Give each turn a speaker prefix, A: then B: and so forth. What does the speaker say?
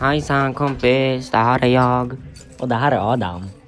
A: Hejsan kompis, det här är jag.
B: Och det här är Adam.